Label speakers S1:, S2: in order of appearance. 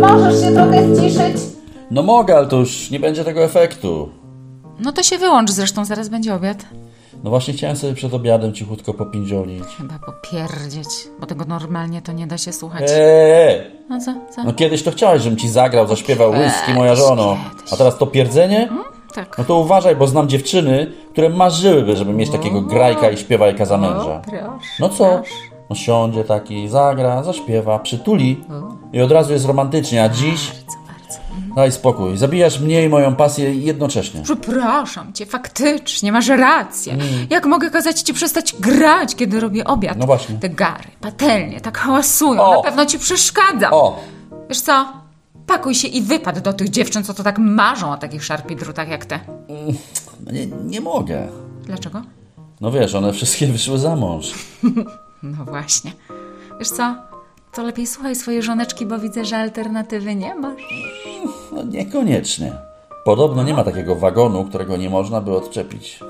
S1: Możesz się trochę zciszyć?
S2: No mogę, ale to już nie będzie tego efektu.
S3: No to się wyłącz, zresztą zaraz będzie obiad.
S2: No właśnie chciałem sobie przed obiadem cichutko popindziolić.
S3: Chyba popierdzieć, bo tego normalnie to nie da się słuchać.
S2: Eee!
S3: No co, co?
S2: No kiedyś to chciałeś, żebym ci zagrał, zaśpiewał whisky moja żono. A teraz to pierdzenie?
S3: Tak.
S2: No to uważaj, bo znam dziewczyny, które marzyłyby, żeby mieć takiego grajka i śpiewajka za męża.
S3: proszę.
S2: No co? No siądzie taki, zagra, zaśpiewa, przytuli i od razu jest romantycznie, a dziś
S3: Bardzo, bardzo.
S2: daj spokój. Zabijasz mnie i moją pasję jednocześnie.
S3: Przepraszam cię, faktycznie, masz rację. Jak mogę kazać ci przestać grać, kiedy robię obiad?
S2: Mm. No właśnie.
S3: Te gary, patelnie, tak hałasują,
S2: O!
S3: na pewno ci przeszkadza.
S2: O!
S3: Wiesz co? Pakuj się i wypad do tych dziewczyn, co to tak marzą o takich szarpidrutach jak te.
S2: No Nie, nie mogę.
S3: Dlaczego?
S2: No wiesz, one wszystkie wyszły za mąż.
S3: No właśnie. Wiesz co? To lepiej słuchaj swojej żoneczki, bo widzę, że alternatywy nie masz.
S2: No niekoniecznie. Podobno nie ma takiego wagonu, którego nie można by odczepić.